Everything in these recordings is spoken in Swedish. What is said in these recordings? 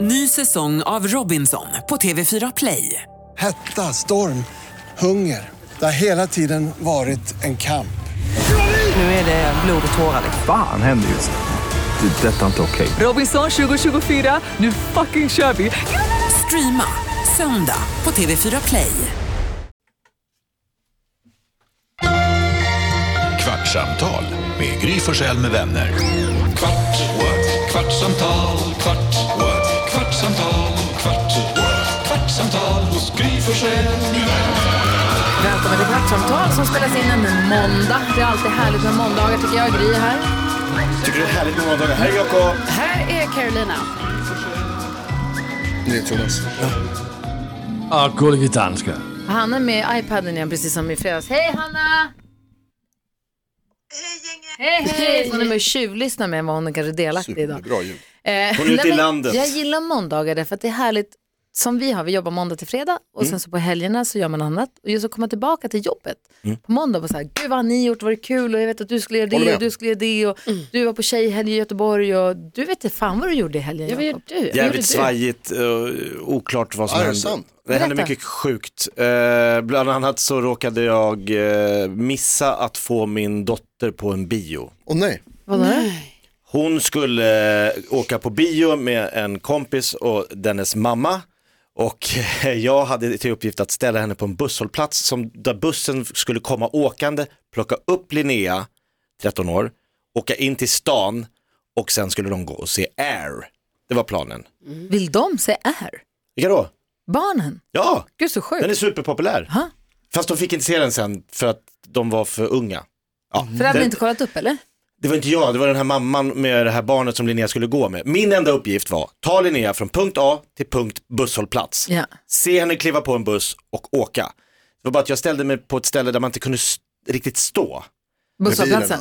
Ny säsong av Robinson på TV4 Play. Hetta, storm, hunger. Det har hela tiden varit en kamp. Nu är det blod och tårar. liksom. Fan händer just nu. Det. är Detta är inte okej. Robinson 2024, nu fucking kör vi! Streama söndag på TV4 Play. Kvartsamtal med Gry Forssell med vänner. Kvart, what? kvartsamtal, kvart, what? kvartsamtal, kvart, what? kvartsamtal hos Gry Forssell med vänner. Välkommen till Kvartsamtal som spelas in en måndag. Det är alltid härligt med måndagar tycker jag. Gry här. Tycker det är härligt med måndagar. Här är Jakob. Här är Carolina. Det är Thomas. Och gullige danska. Hanna är med i iPaden igen precis som i fredags. Hej Hanna! Hej gänget! Hej hej! Hon är med och tjuvlyssnar med vad hon kan vara delaktig idag. Bra ljud. Eh, Hon är ute i nej, men landet. Jag gillar måndagar därför att det är härligt som vi har. Vi jobbar måndag till fredag och Mm. sen så på helgerna så gör man annat. Och just att komma tillbaka till jobbet Mm. på måndag och så här, gud vad har ni gjort, var det kul och jag vet att du skulle göra Håller det med. och du skulle göra det och du var på tjejhelg i Göteborg och du vet inte fan vad du gjorde i helgen Ja, vad Jakob. gör du? Jävligt svajigt och oklart vad som Ja, det är hände. sant. Det hände Berätta. mycket sjukt. Eh, bland annat så råkade jag eh, missa att få min dotter på en bio. Och nej. Vad var det? Hon skulle eh, åka på bio med en kompis och dennes mamma. Och eh, jag hade till uppgift att ställa henne på en busshållplats som, där bussen skulle komma åkande, plocka upp Linnea, 13 år, åka in till stan och sen skulle de gå och se Air. Det var planen. Vill de se är? Vilka då? Barnen? Ja, Gud så sjukt. den är superpopulär. Ha? Fast de fick inte se den sen för att de var för unga. Ja, Mm. För det hade ni den- inte kollat upp eller? det var inte jag, det var den här mamman med det här barnet som Linnea skulle gå med. Min enda uppgift var, ta Linnea från punkt A till punkt busshållplats. Ja. Se henne kliva på en buss och åka. Det var bara att jag ställde mig på ett ställe där man inte kunde s- riktigt stå. Busshållplatsen?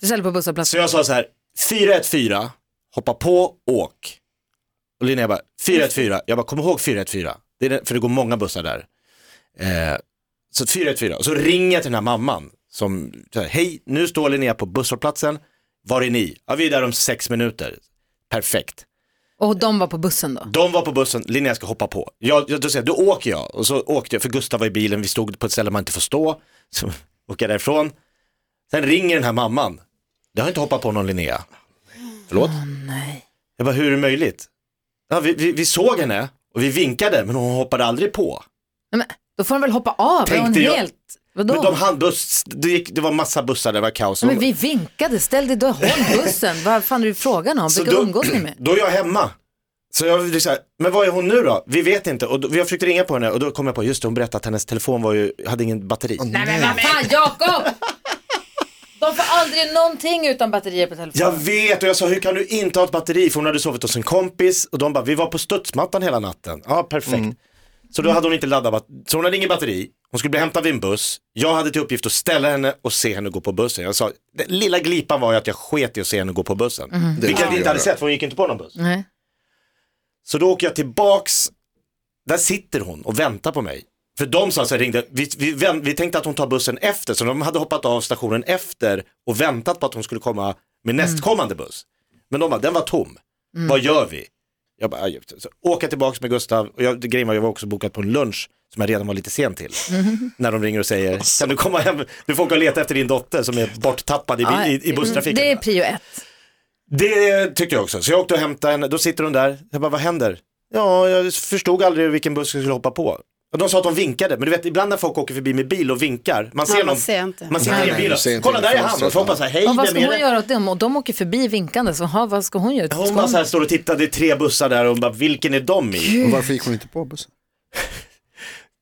Du ställer på busshållplatsen? alltså. Mm. Så jag sa så här, 414, hoppa på, åk. Och Linnea bara, 414, jag bara, kom ihåg 414, det är den, för det går många bussar där. Eh, så 414, och så ringer jag till den här mamman som, så här, hej, nu står Linnea på busshållplatsen, var är ni? Ja, vi är där om sex minuter. Perfekt. Och de var på bussen då? De var på bussen, Linnea ska hoppa på. Jag, jag, då säger jag, då åker jag. Och så åkte jag, för Gustav var i bilen, vi stod på ett ställe man inte får stå. Så åker jag därifrån. Sen ringer den här mamman. Jag har inte hoppat på någon Linnea. Förlåt? Nej. Jag bara, hur är det möjligt? Ja, vi, vi, vi såg henne och vi vinkade, men hon hoppade aldrig på. Nej, men, då får de väl hoppa av? Är hon Tänkte jag. helt... Vadå? Men de hann buss, det, gick, det var massa bussar, det var kaos. Nej, men vi vinkade, ställ dig då, håll bussen. Vad fan är du frågan om? Vilka umgås ni med? Då är jag hemma. Så jag blir så här, men vad är hon nu då? Vi vet inte. Och då, jag försökte ringa på henne och då kom jag på, just det, hon berättade att hennes telefon var ju, hade ingen batteri. Nej men vad fan Jakob! De får aldrig någonting utan batterier på Jag telefonen. vet och jag sa hur kan du inte ha ett batteri för hon hade sovit hos en kompis och de bara vi var på studsmattan hela natten. Ja perfekt. Så då hade hon inte laddat, bat- så hon hade ingen batteri, hon skulle bli hämtad vid en buss. Jag hade till uppgift att ställa henne och se henne gå på bussen. Jag sa, den lilla glipan var ju att jag sket i att se henne gå på bussen. Mm. Vilket jag inte hade sett för hon gick inte på någon buss. Nej. Så då åker jag tillbaks, där sitter hon och väntar på mig. För de sa så här, ringde, vi, vi, vänt- vi tänkte att hon tar bussen efter, så de hade hoppat av stationen efter och väntat på att hon skulle komma Mm. med nästkommande buss. Men de bara, den var tom, vad gör vi? Jag bara, aj, så åker jag tillbaks med Gustav, och jag, grejen var jag var också bokad på en lunch som jag redan var lite sen till. Mm. När de ringer och säger, kan du komma hem, du får gå och leta efter din dotter som är borttappad i, bil- i, i busstrafiken. Det är prio ett. Det tyckte jag också, så jag åkte och hämtade henne, då sitter hon där, jag bara vad händer? Ja, jag förstod aldrig vilken buss jag skulle hoppa på. Och de sa att de vinkade, men du vet ibland när folk åker förbi med bil och vinkar, man ser man någon, ser inte. man Nej, sitter i en nej, bil du ser inte och kolla genom där är han, och fönstret. så hoppas jag, hej Och vad ska vem är hon det? göra åt det? Om de åker förbi vinkande, så aha, vad ska hon göra? Hon Ska bara så här står och tittar, det är tre bussar där och bara vilken är de i? Och varför gick hon inte på bussen?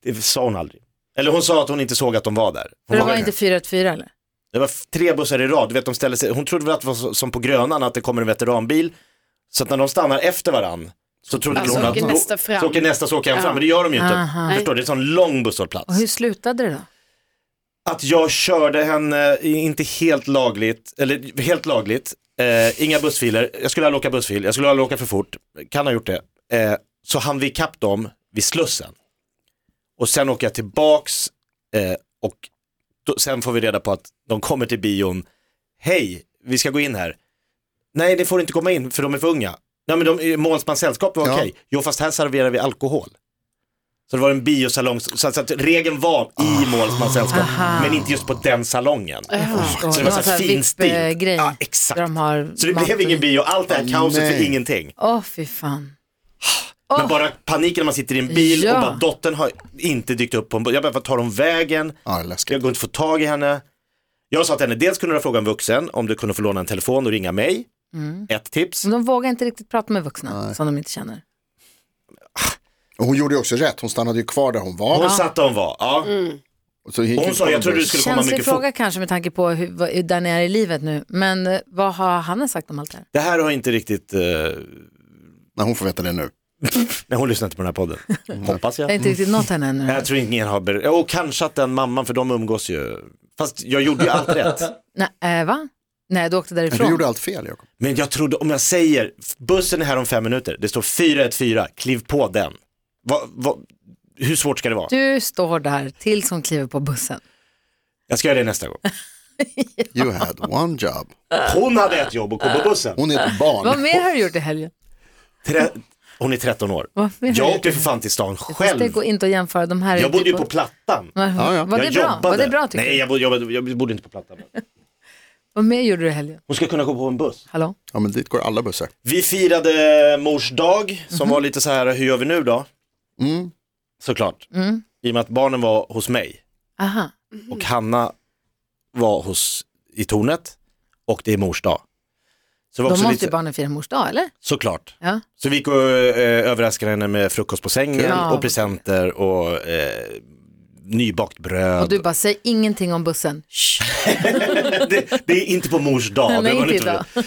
Det sa hon aldrig. Eller hon sa att hon inte såg att de var där. För Hon det var var inte 414 eller? Det var f- tre bussar i rad, du vet, de ställde sig, hon trodde väl att det var så- som på Grönan, att det kommer en veteranbil. Så att när de stannar efter varann så trodde Alltså, hon att åker nästa fram. så åker nästa så åker han fram, men det gör de ju inte. Aha. Förstår, det är en sån lång busshållplats. Och hur slutade det då? Att jag körde henne i- inte helt lagligt, eller helt lagligt, eh, inga bussfiler, jag skulle aldrig åka bussfil, jag skulle aldrig åka för fort, kan ha gjort det. Eh, så hann vi ikapp dem vid Slussen. Och sen åker jag tillbaks eh, och då, sen får vi reda på att de kommer till bion, hej, vi ska gå in här. Nej, det får inte komma in för de är för unga. Nej men de, Månsmans sällskap var Ja. okej. Jo fast här serverar vi alkohol. Så det var en biosalong, så, så att regeln var i Månsmans sällskap, men inte just på den salongen. förstår. Så det var så här finstilt. VIP-grej. Ja, eh, Där exakt. de har Så det mat blev och- ingen bio, allt det här kaoset för nej. ingenting. Åh, fy fan. Men bara paniken när man sitter i en bil Ja. och bara dottern har inte dykt upp på en Jag bara, vad tar hon vägen? Ja, Jag läskigt. går inte att få tag i henne. Jag sa till henne, dels kunde du fråga en vuxen om du kunde få låna en telefon och ringa mig. Mm. Ett tips. Men de vågar inte riktigt prata med vuxna som de inte känner. Och hon gjorde ju också rätt, hon stannade ju kvar där hon var. Hon satt där hon var. Ja. Så gick Och hon ut sa, på jag en trodde du buss. skulle komma Mm. Känslig mycket fort. fråga kanske med tanke på hur, vad, där ni är i livet nu. Men eh, vad har Hanna sagt om allt det här? Det här har inte riktigt, eh, Nej, hon får veta det nu. nej hon lyssnar inte på den här podden, hoppas Jag har jag. Mm. inte riktigt nått henne ännu. Nej, Jag tror ingen har, ber- och kanske att den mamman, för de umgås ju. Fast jag gjorde ju allt rätt. Nej, äh, va? Nej, du åkte Men du därifrån. gjorde allt fel, Jakob. Men jag trodde, om jag säger, bussen är här om fem minuter, det står 414, kliv på den. Vad- vad- hur svårt ska det vara? Du står där tills hon kliver på bussen. Jag ska göra det nästa gång. You had one job. Hon hade ett jobb och kom på bussen. Hon är ett Vad barn. mer har du gjort i helgen? Tre- hon är 13 år. Vad mer har Jag du åkte gjort? för fan till stan Fast Det själv. går inte att jämföra de här. Jag bodde ju på Plattan. Men- Ja, ja. Var det jag bra? jobbade. Var det bra tycker Nej, du? jag bodde, jag, bodde, jag bodde inte på Plattan. Vad mer gjorde du i helgen? Hon ska kunna gå på en buss. Hallå? Ja, men dit går alla bussar. Vi firade mors dag som Mhm. var lite så här, hur gör vi nu då? Mm. Såklart. Mm. I och med att barnen var hos mig Aha. och Hanna var hos, i tornet och det är mors dag. Så det var De också måste lite, ju barnen fira mors dag, eller? Såklart. Ja. Så vi gick och eh, överraskade henne med frukost på sängen Ja. och presenter och eh, nybakt bröd. Och du bara, säg ingenting om bussen. Shh. det, det är inte på mors dag. Nej, det var inte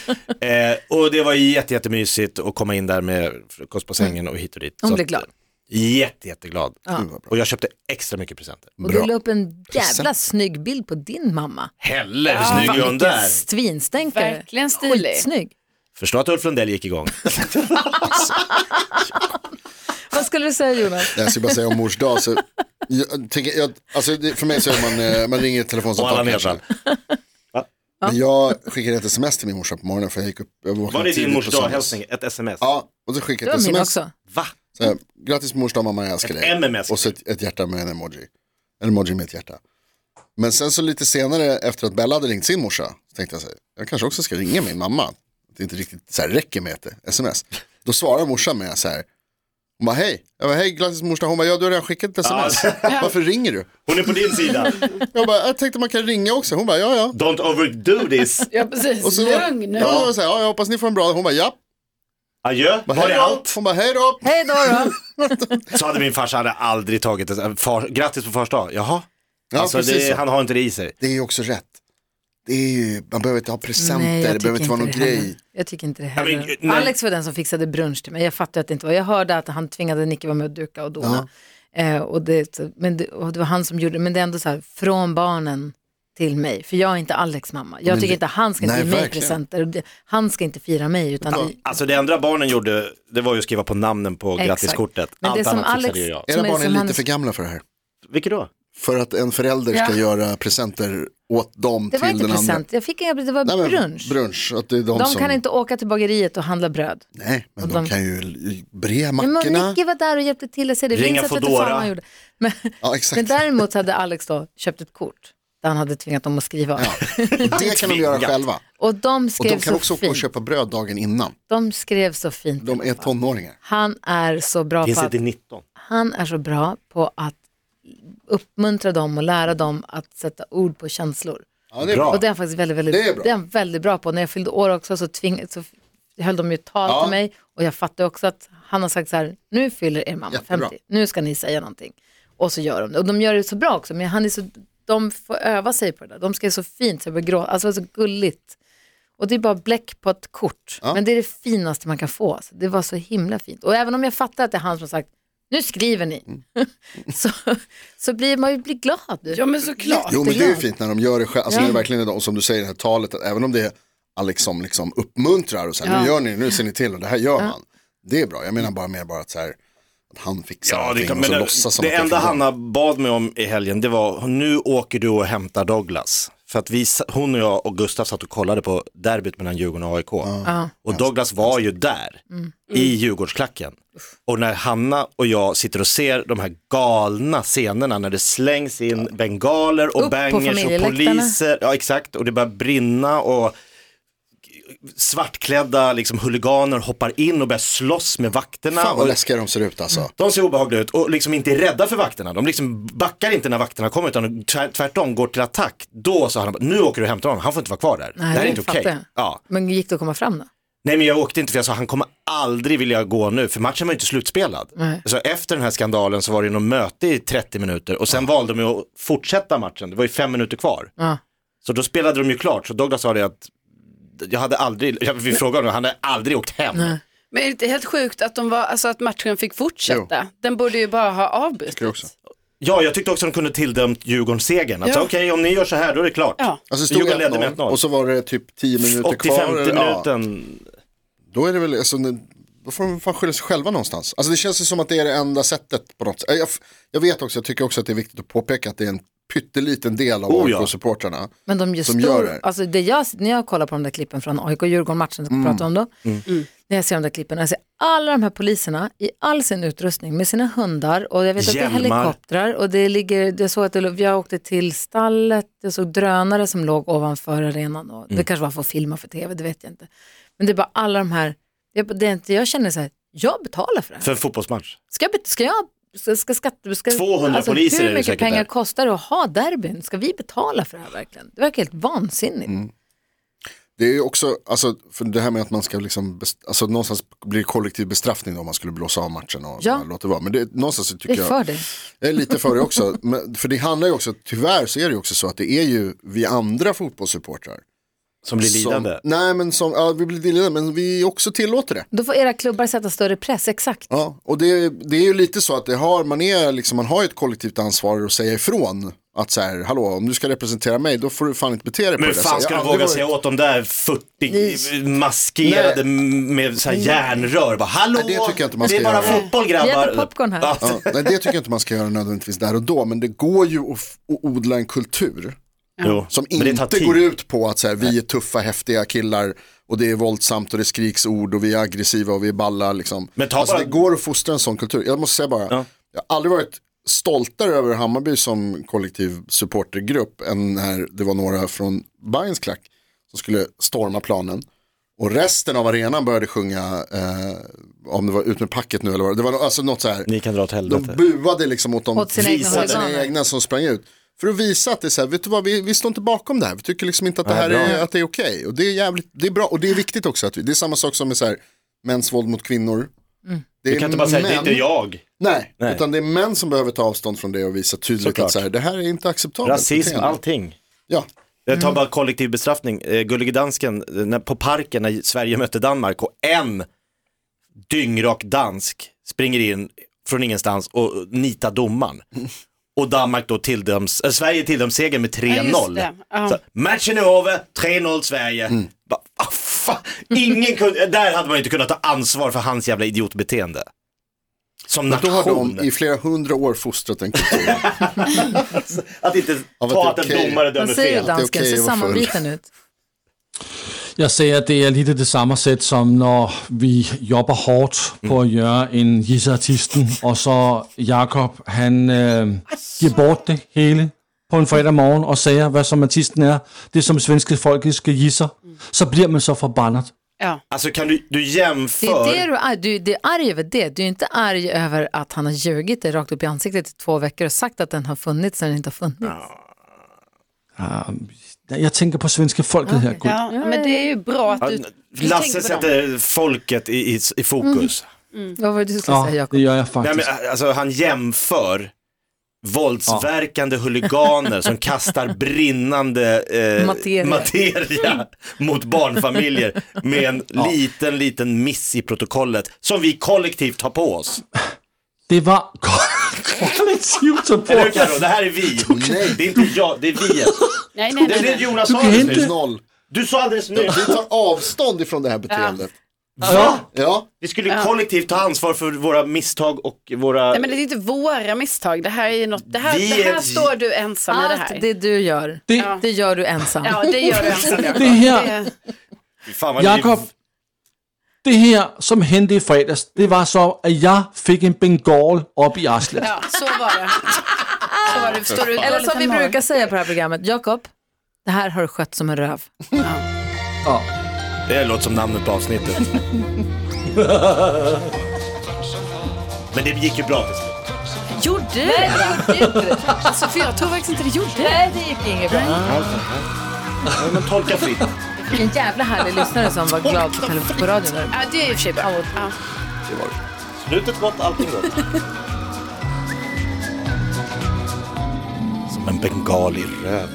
inte eh, och det var jätte, jättemysigt att komma in där med frukost på sängen och hit och dit. Hon Så blir att- eh, glad. Jätte, jätteglad. Gud, Mm, vad bra. Och jag köpte extra mycket presenter. Och du la upp en jävla snygg bild på din mamma. Heller, Ah, hur snygg är hon där? Svinstänkare. Verkligen stilig. Skitsnygg. Förstå att Ulf Lundell gick igång. Vad skulle du säga Jonas? Jag ska bara säga om mors dag. Så jag, tänker, jag, alltså, det, för mig så är man, eh, man ringer ett Och telefonsamtal alla kanske. nedsatt. Va? Men jag skickade ett sms till min morsa på morgonen för jag gick upp. Jag vaknade Var det din tidigt mors på söndags. dag-hälsning? Ett sms? Ja, och så Det skickade jag var ett min sms. också. Va? Så här, Grattis på mors dag mamma, jag älskar Ett dig. MMS. Och så ett, ett hjärta med en emoji. En emoji med ett hjärta. Men sen så lite senare efter att Bella hade ringt sin morsa, så tänkte jag så här, jag kanske också ska ringa min mamma. Det inte riktigt så här räcker med ett sms. Då svarar morsan med så här, hon bara hej, jag bara hej grattis på mors dag, hon bara ja du har redan skickat ett sms, varför ringer du? Hon är på din sida. Jag bara, jag tänkte man kan ringa också, hon bara ja ja. Don't overdo this. Ja, precis. Och så, Lugn. Ja, jag, så här, ja, jag hoppas ni får en bra, hon bara ja. Adjö, Jag bara, var "Hej det då." allt? Hon bara hej då. Hej då då. Så hade min farsa hade aldrig tagit det. Far, grattis på första dag. Jaha, Ja, alltså, precis det, så. han har inte det i sig. Det är ju också rätt. Det är ju, man behöver inte ha presenter, Nej, jag det behöver tycker inte vara någon det grej. heller. Jag tycker inte det Ja, men, heller. nej. Alex var den som fixade brunch till mig. Jag fattade att det inte var. Jag hörde att han tvingade Nicky vara med och duka och dona. Eh, och, det, men det, och det var han som gjorde det. Men det är ändå så här, från barnen till mig. För jag är inte Alex mamma. Jag tycker inte han ska inte nej, ge mig verkligen. presenter. Och det- Han ska inte fira mig. Utan vi- Alltså det andra barnen gjorde, det var ju att skriva på namnen på Exakt. grattiskortet. Men det Allt som annat fixade Alex- ju jag. Som Era är- barn är som lite han- för gamla för det här. Vilket då? För att en förälder ska Ja. göra presenter åt dem det var till inte den andra. present. Jag fick inga, det var Nej, men brunch. Brunch, att det är de, De som... kan inte åka till bageriet och handla bröd. Nej, men och de, de- kan ju l- bre Ja, Men mackorna. Nicky var där och hjälpte till. Jag ser det. Ringa Vincent vet inte fan Foodora. vad han gjorde. Men, Ja, exakt. men däremot så hade Alex då köpt ett kort där han hade tvingat dem att skriva. Det kan de göra Tvingat. själva. Och de Och skrev de kan också så åka och fint. köpa bröd dagen innan. De skrev så fint. De är tonåringar. Han är så bra Finns på det att, till 19? han är så bra på att uppmuntra dem och lära dem att sätta ord på känslor. Ja, det Bra. är bra. Och det är jag faktiskt väldigt, väldigt, Det är bra. det är jag väldigt bra på. När jag fyllde år också så, tving, så f- höll de ju ett tal Ja. till mig och jag fattade också att han har sagt så här, nu fyller er mamma Jättebra. 50, nu ska ni säga någonting. Och så gör de det. Och de gör det så bra också, men han är så, de får öva sig på det där. De skrev så fint så jag började gråta, alltså det var så gulligt. Och det är bara bläck på ett kort, men det är det finaste man kan få. Alltså. Det var så himla fint. Och även om jag fattar att det är han som har sagt, nu skriver ni, Mm. så, så blir man ju blir glad. Ja, men såklart. Jo, men det är ju jätteglad. fint när de gör det själva. Alltså, Ja. när det verkligen är de, och som du säger i det här talet, att även om det är Alex som liksom uppmuntrar och så här, nu gör ni det, nu ser ni till och det här gör man. Det är bra, jag menar bara mer bara att, så här, att han fixar Ja, det, är liksom allting klart, och men det, så låtsas som det att jag enda kan- Hanna bad mig om i helgen, det var nu åker du och hämtar Douglas. För att vi, s- hon och jag och Gustav satt och kollade på derbyt mellan Djurgården och AIK. Ja. Och Douglas var ju där, Mm. i Djurgårdsklacken. Och när Hanna och jag sitter och ser de här galna scenerna när det slängs in bengaler och Upp på bangers och familjeläktarna. poliser. Ja exakt, och det börjar brinna och svartklädda liksom, huliganer hoppar in och börjar slåss med vakterna. Fan vad och läskiga de ser ut alltså. de ser obehagliga ut och liksom inte är rädda för vakterna. De liksom backar inte när vakterna kommer utan tvär- tvärtom går till attack. Då sa han, nu åker du och hämtar honom, han får inte vara kvar där. det här är inte okej. fattar jag. Ja. Men gick det att komma fram då? Nej men jag åkte inte för jag sa han kommer aldrig vilja gå nu för matchen var ju inte slutspelad. Nej. Så efter den här skandalen så var det ju något möte i 30 minuter och sen valde de ju att fortsätta matchen, det var ju fem minuter kvar. Ja. Så då spelade de ju klart, så Douglas sa det att jag hade aldrig, jag, vi frågade honom, han hade aldrig åkt hem. Men är det inte helt sjukt att, de var, alltså att matchen fick fortsätta? Den borde ju bara ha Tycker jag avbrutits. också. Ja, jag tyckte också de kunde tilldömt Djurgården segern. Att Ja. så, okej, om ni gör så här då är det klart. Ja. Alltså det stod Djurgården ledde 1-0 med 1-0. och så var det typ 10 minuter 85 kvar. Ja, minuten. då är det väl, alltså, nu- då får de fan skylla sig själva någonstans. Alltså det känns ju som att det är det enda sättet på något sätt. Äh, Jag, jag vet också, jag tycker också att det är viktigt att påpeka att det är en pytteliten del av Oh, ja. AIK-supportrarna. Men de Som just gör då, det. alltså det jag, när jag kollar på de där klippen från AIK och Djurgården-matchen Mm. som vi pratade om då, när jag ser de där klippen, jag ser alla de här poliserna i all sin utrustning med sina hundar och jag vet att det är Hjälmar. helikoptrar och det ligger, jag såg att det, låg- jag åkte till stallet, jag såg drönare som låg ovanför arenan och Mm. det kanske var för att filma för tv, det vet jag inte. Men det är bara alla de här, jag, det är inte, jag känner så här, jag betalar för det här. För en fotbollsmatch. Ska jag, bet- ska jag ska, ska skatte, ska, alltså, 200 poliser är Hur det mycket säkert pengar där. kostar det att ha derbyn? Ska vi betala för det här verkligen? Det verkar helt vansinnigt. Mm. Det är ju också, alltså, för det här med att man ska liksom, best- alltså någonstans blir det kollektiv bestraffning då om man skulle blåsa av matchen och Ja. ja. låta det vara. Men det, någonstans så Vi tycker är jag, för det. jag är lite för det också. Men, för det handlar ju också, tyvärr så är det ju också så att det är ju vi andra fotbollssupportrar. Som blir lidande. Som, nej men som, ja vi blir lidande men vi också tillåter det. Då får era klubbar sätta större press, exakt. Ja, och det, det är ju lite så att det har, man, är, liksom, man har ju ett kollektivt ansvar att säga ifrån. Att så här, hallå om du ska representera mig då får du fan inte bete dig på Men det hur fan Så ska jag de har aldrig våga varit- säga åt de där 40 Nej. maskerade med så här järnrör? Bara, Hallå, Nej, det tycker jag inte man det är ska bara göra. fotboll Vi grabbar. äter popcorn här. Ja. Ja, nej, det tycker jag inte man ska göra nödvändigtvis där och då, men det går ju att, f- att odla en kultur Jo, som men det tar inte tid. går ut på att så här, vi är tuffa, häftiga killar och det är våldsamt och det skriks ord och vi är aggressiva och vi är balla. Liksom. Men ta alltså, bara- Det går att fostra en sån kultur. Jag måste säga bara, jag har aldrig varit stoltare över Hammarby som kollektiv supportergrupp än när det var några från Bayerns klack som skulle storma planen. Och resten av arenan började sjunga, eh, om det var ut med packet nu eller vad det var, det var alltså något så här. Ni kan dra åt De helvete. buade liksom åt de Åt sina egna visade sina huliganer. egna som sprang ut. För att visa att det är så här, vet du vad, vi, vi står inte bakom det här. Vi tycker liksom inte att det Nej, här bra. är, att det är okej. Och det är jävligt, det är bra. Och det är viktigt också att vi, det är samma sak som med så här, mäns våld mot kvinnor. Det är Du kan inte bara säga, det är män- inte jag. Nej, Nej. utan det är män som behöver ta avstånd från det och visa tydligt Såklart. att så här, det här är inte acceptabelt. Rasism, beteende. allting. Ja, Jag tar bara kollektiv bestraffning. Eh, Gullige dansken, eh, när, på parken när Sverige mötte Danmark och en dyngrak dansk springer in från ingenstans och eh, nitar domaren. Och Danmark då tilldöms, äh, Sverige tilldöms segern med 3-0. Ja, just det. Ja. E Så, matchen är över, 3-0 Sverige. Bara, ah, fan. Ingen kunde, där hade man ju inte kunnat ta ansvar för hans jävla idiotbeteende. Som men då har nation. de i flera hundra år fostrat en kultur. Att inte Ja, men ta att det är en okej. domare Vad dömer säger fel. du är dansken? Ser okej att vara full. sammanbiten ut? Jeg siger, at det er lidt det samme sæt, som når vi jobber hårdt på at gøre en jisseartisten, og så Jakob han øh, giver bort det hele på en fredag morgen og siger, hvad som artisten er, det som svenske folkeske jisser, så bliver man så forbandet. Ja. Alltså kan du, du Det jämför. är det du, är, du, du är arg över det. Du är inte arg över att han har ljugit dig rakt upp i ansiktet i två veckor och sagt att den har funnits när den inte har funnits. Jeg tænker på svenske folket her, gud. ja, men det är ju bra att du, du Lasse tänker på dem. Mm. sätter folket i, i, i fokus. Vad var det du skulle Ja, säga det Jakob? gør jeg Nej, faktisk. men, alltså, han jämför våldsverkande huliganer som kastar brinnande eh, Materia. materia mot barnfamiljer med en liten, liten miss i protokollet som vi kollektivt tar på oss. Det var kollektivt at Eller hur bruge- Karo? Det här är vi. Det är inte jag, det är vi. Nej, nej, Det nej, är det nej. Jonas Du sa kan alldeles inte- nyss. Noll. Du sa alldeles nyss. Vi tar avstånd ifrån det här beteendet. Va? Ja, Vi skulle ju kollektivt ta ansvar för våra misstag och våra... Nej, men det är inte våra misstag. Det här, är ju något, det här, Vi det är- här står du ensam i det Allt här. det du gör, Det- det gör du ensam. Ja, det gör du ensam. Jakob. Det her, Det- Fy Fan, vad Jakob, det her, som hentede i fredags, det var så, at jeg fik en bengal op i Arslet. Ja, så var det. Så var det. Står du Eller som vi brukar brukar... säga på det här programmet, Jakob, det här har du skött som en röv. Det låter som namnet på avsnittet. men det gick ju bra till slut. Gjorde du det? Alltså, för jag tror faktiskt inte det gjorde det. Nej, det gick inget bra. Ja, Men tolka fritt. Vilken jävla härlig lyssnare som var glad på, tele- på radion. Där. Ja, det är i och för sig bra. Ja. Slutet gott, allting gott. Som en bengal i röv.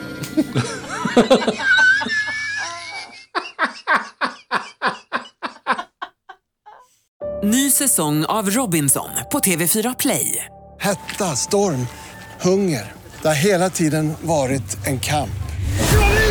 Ny säsong av Robinson på TV4 Play. Hetta, storm, hunger. Det har hela tiden varit en kamp.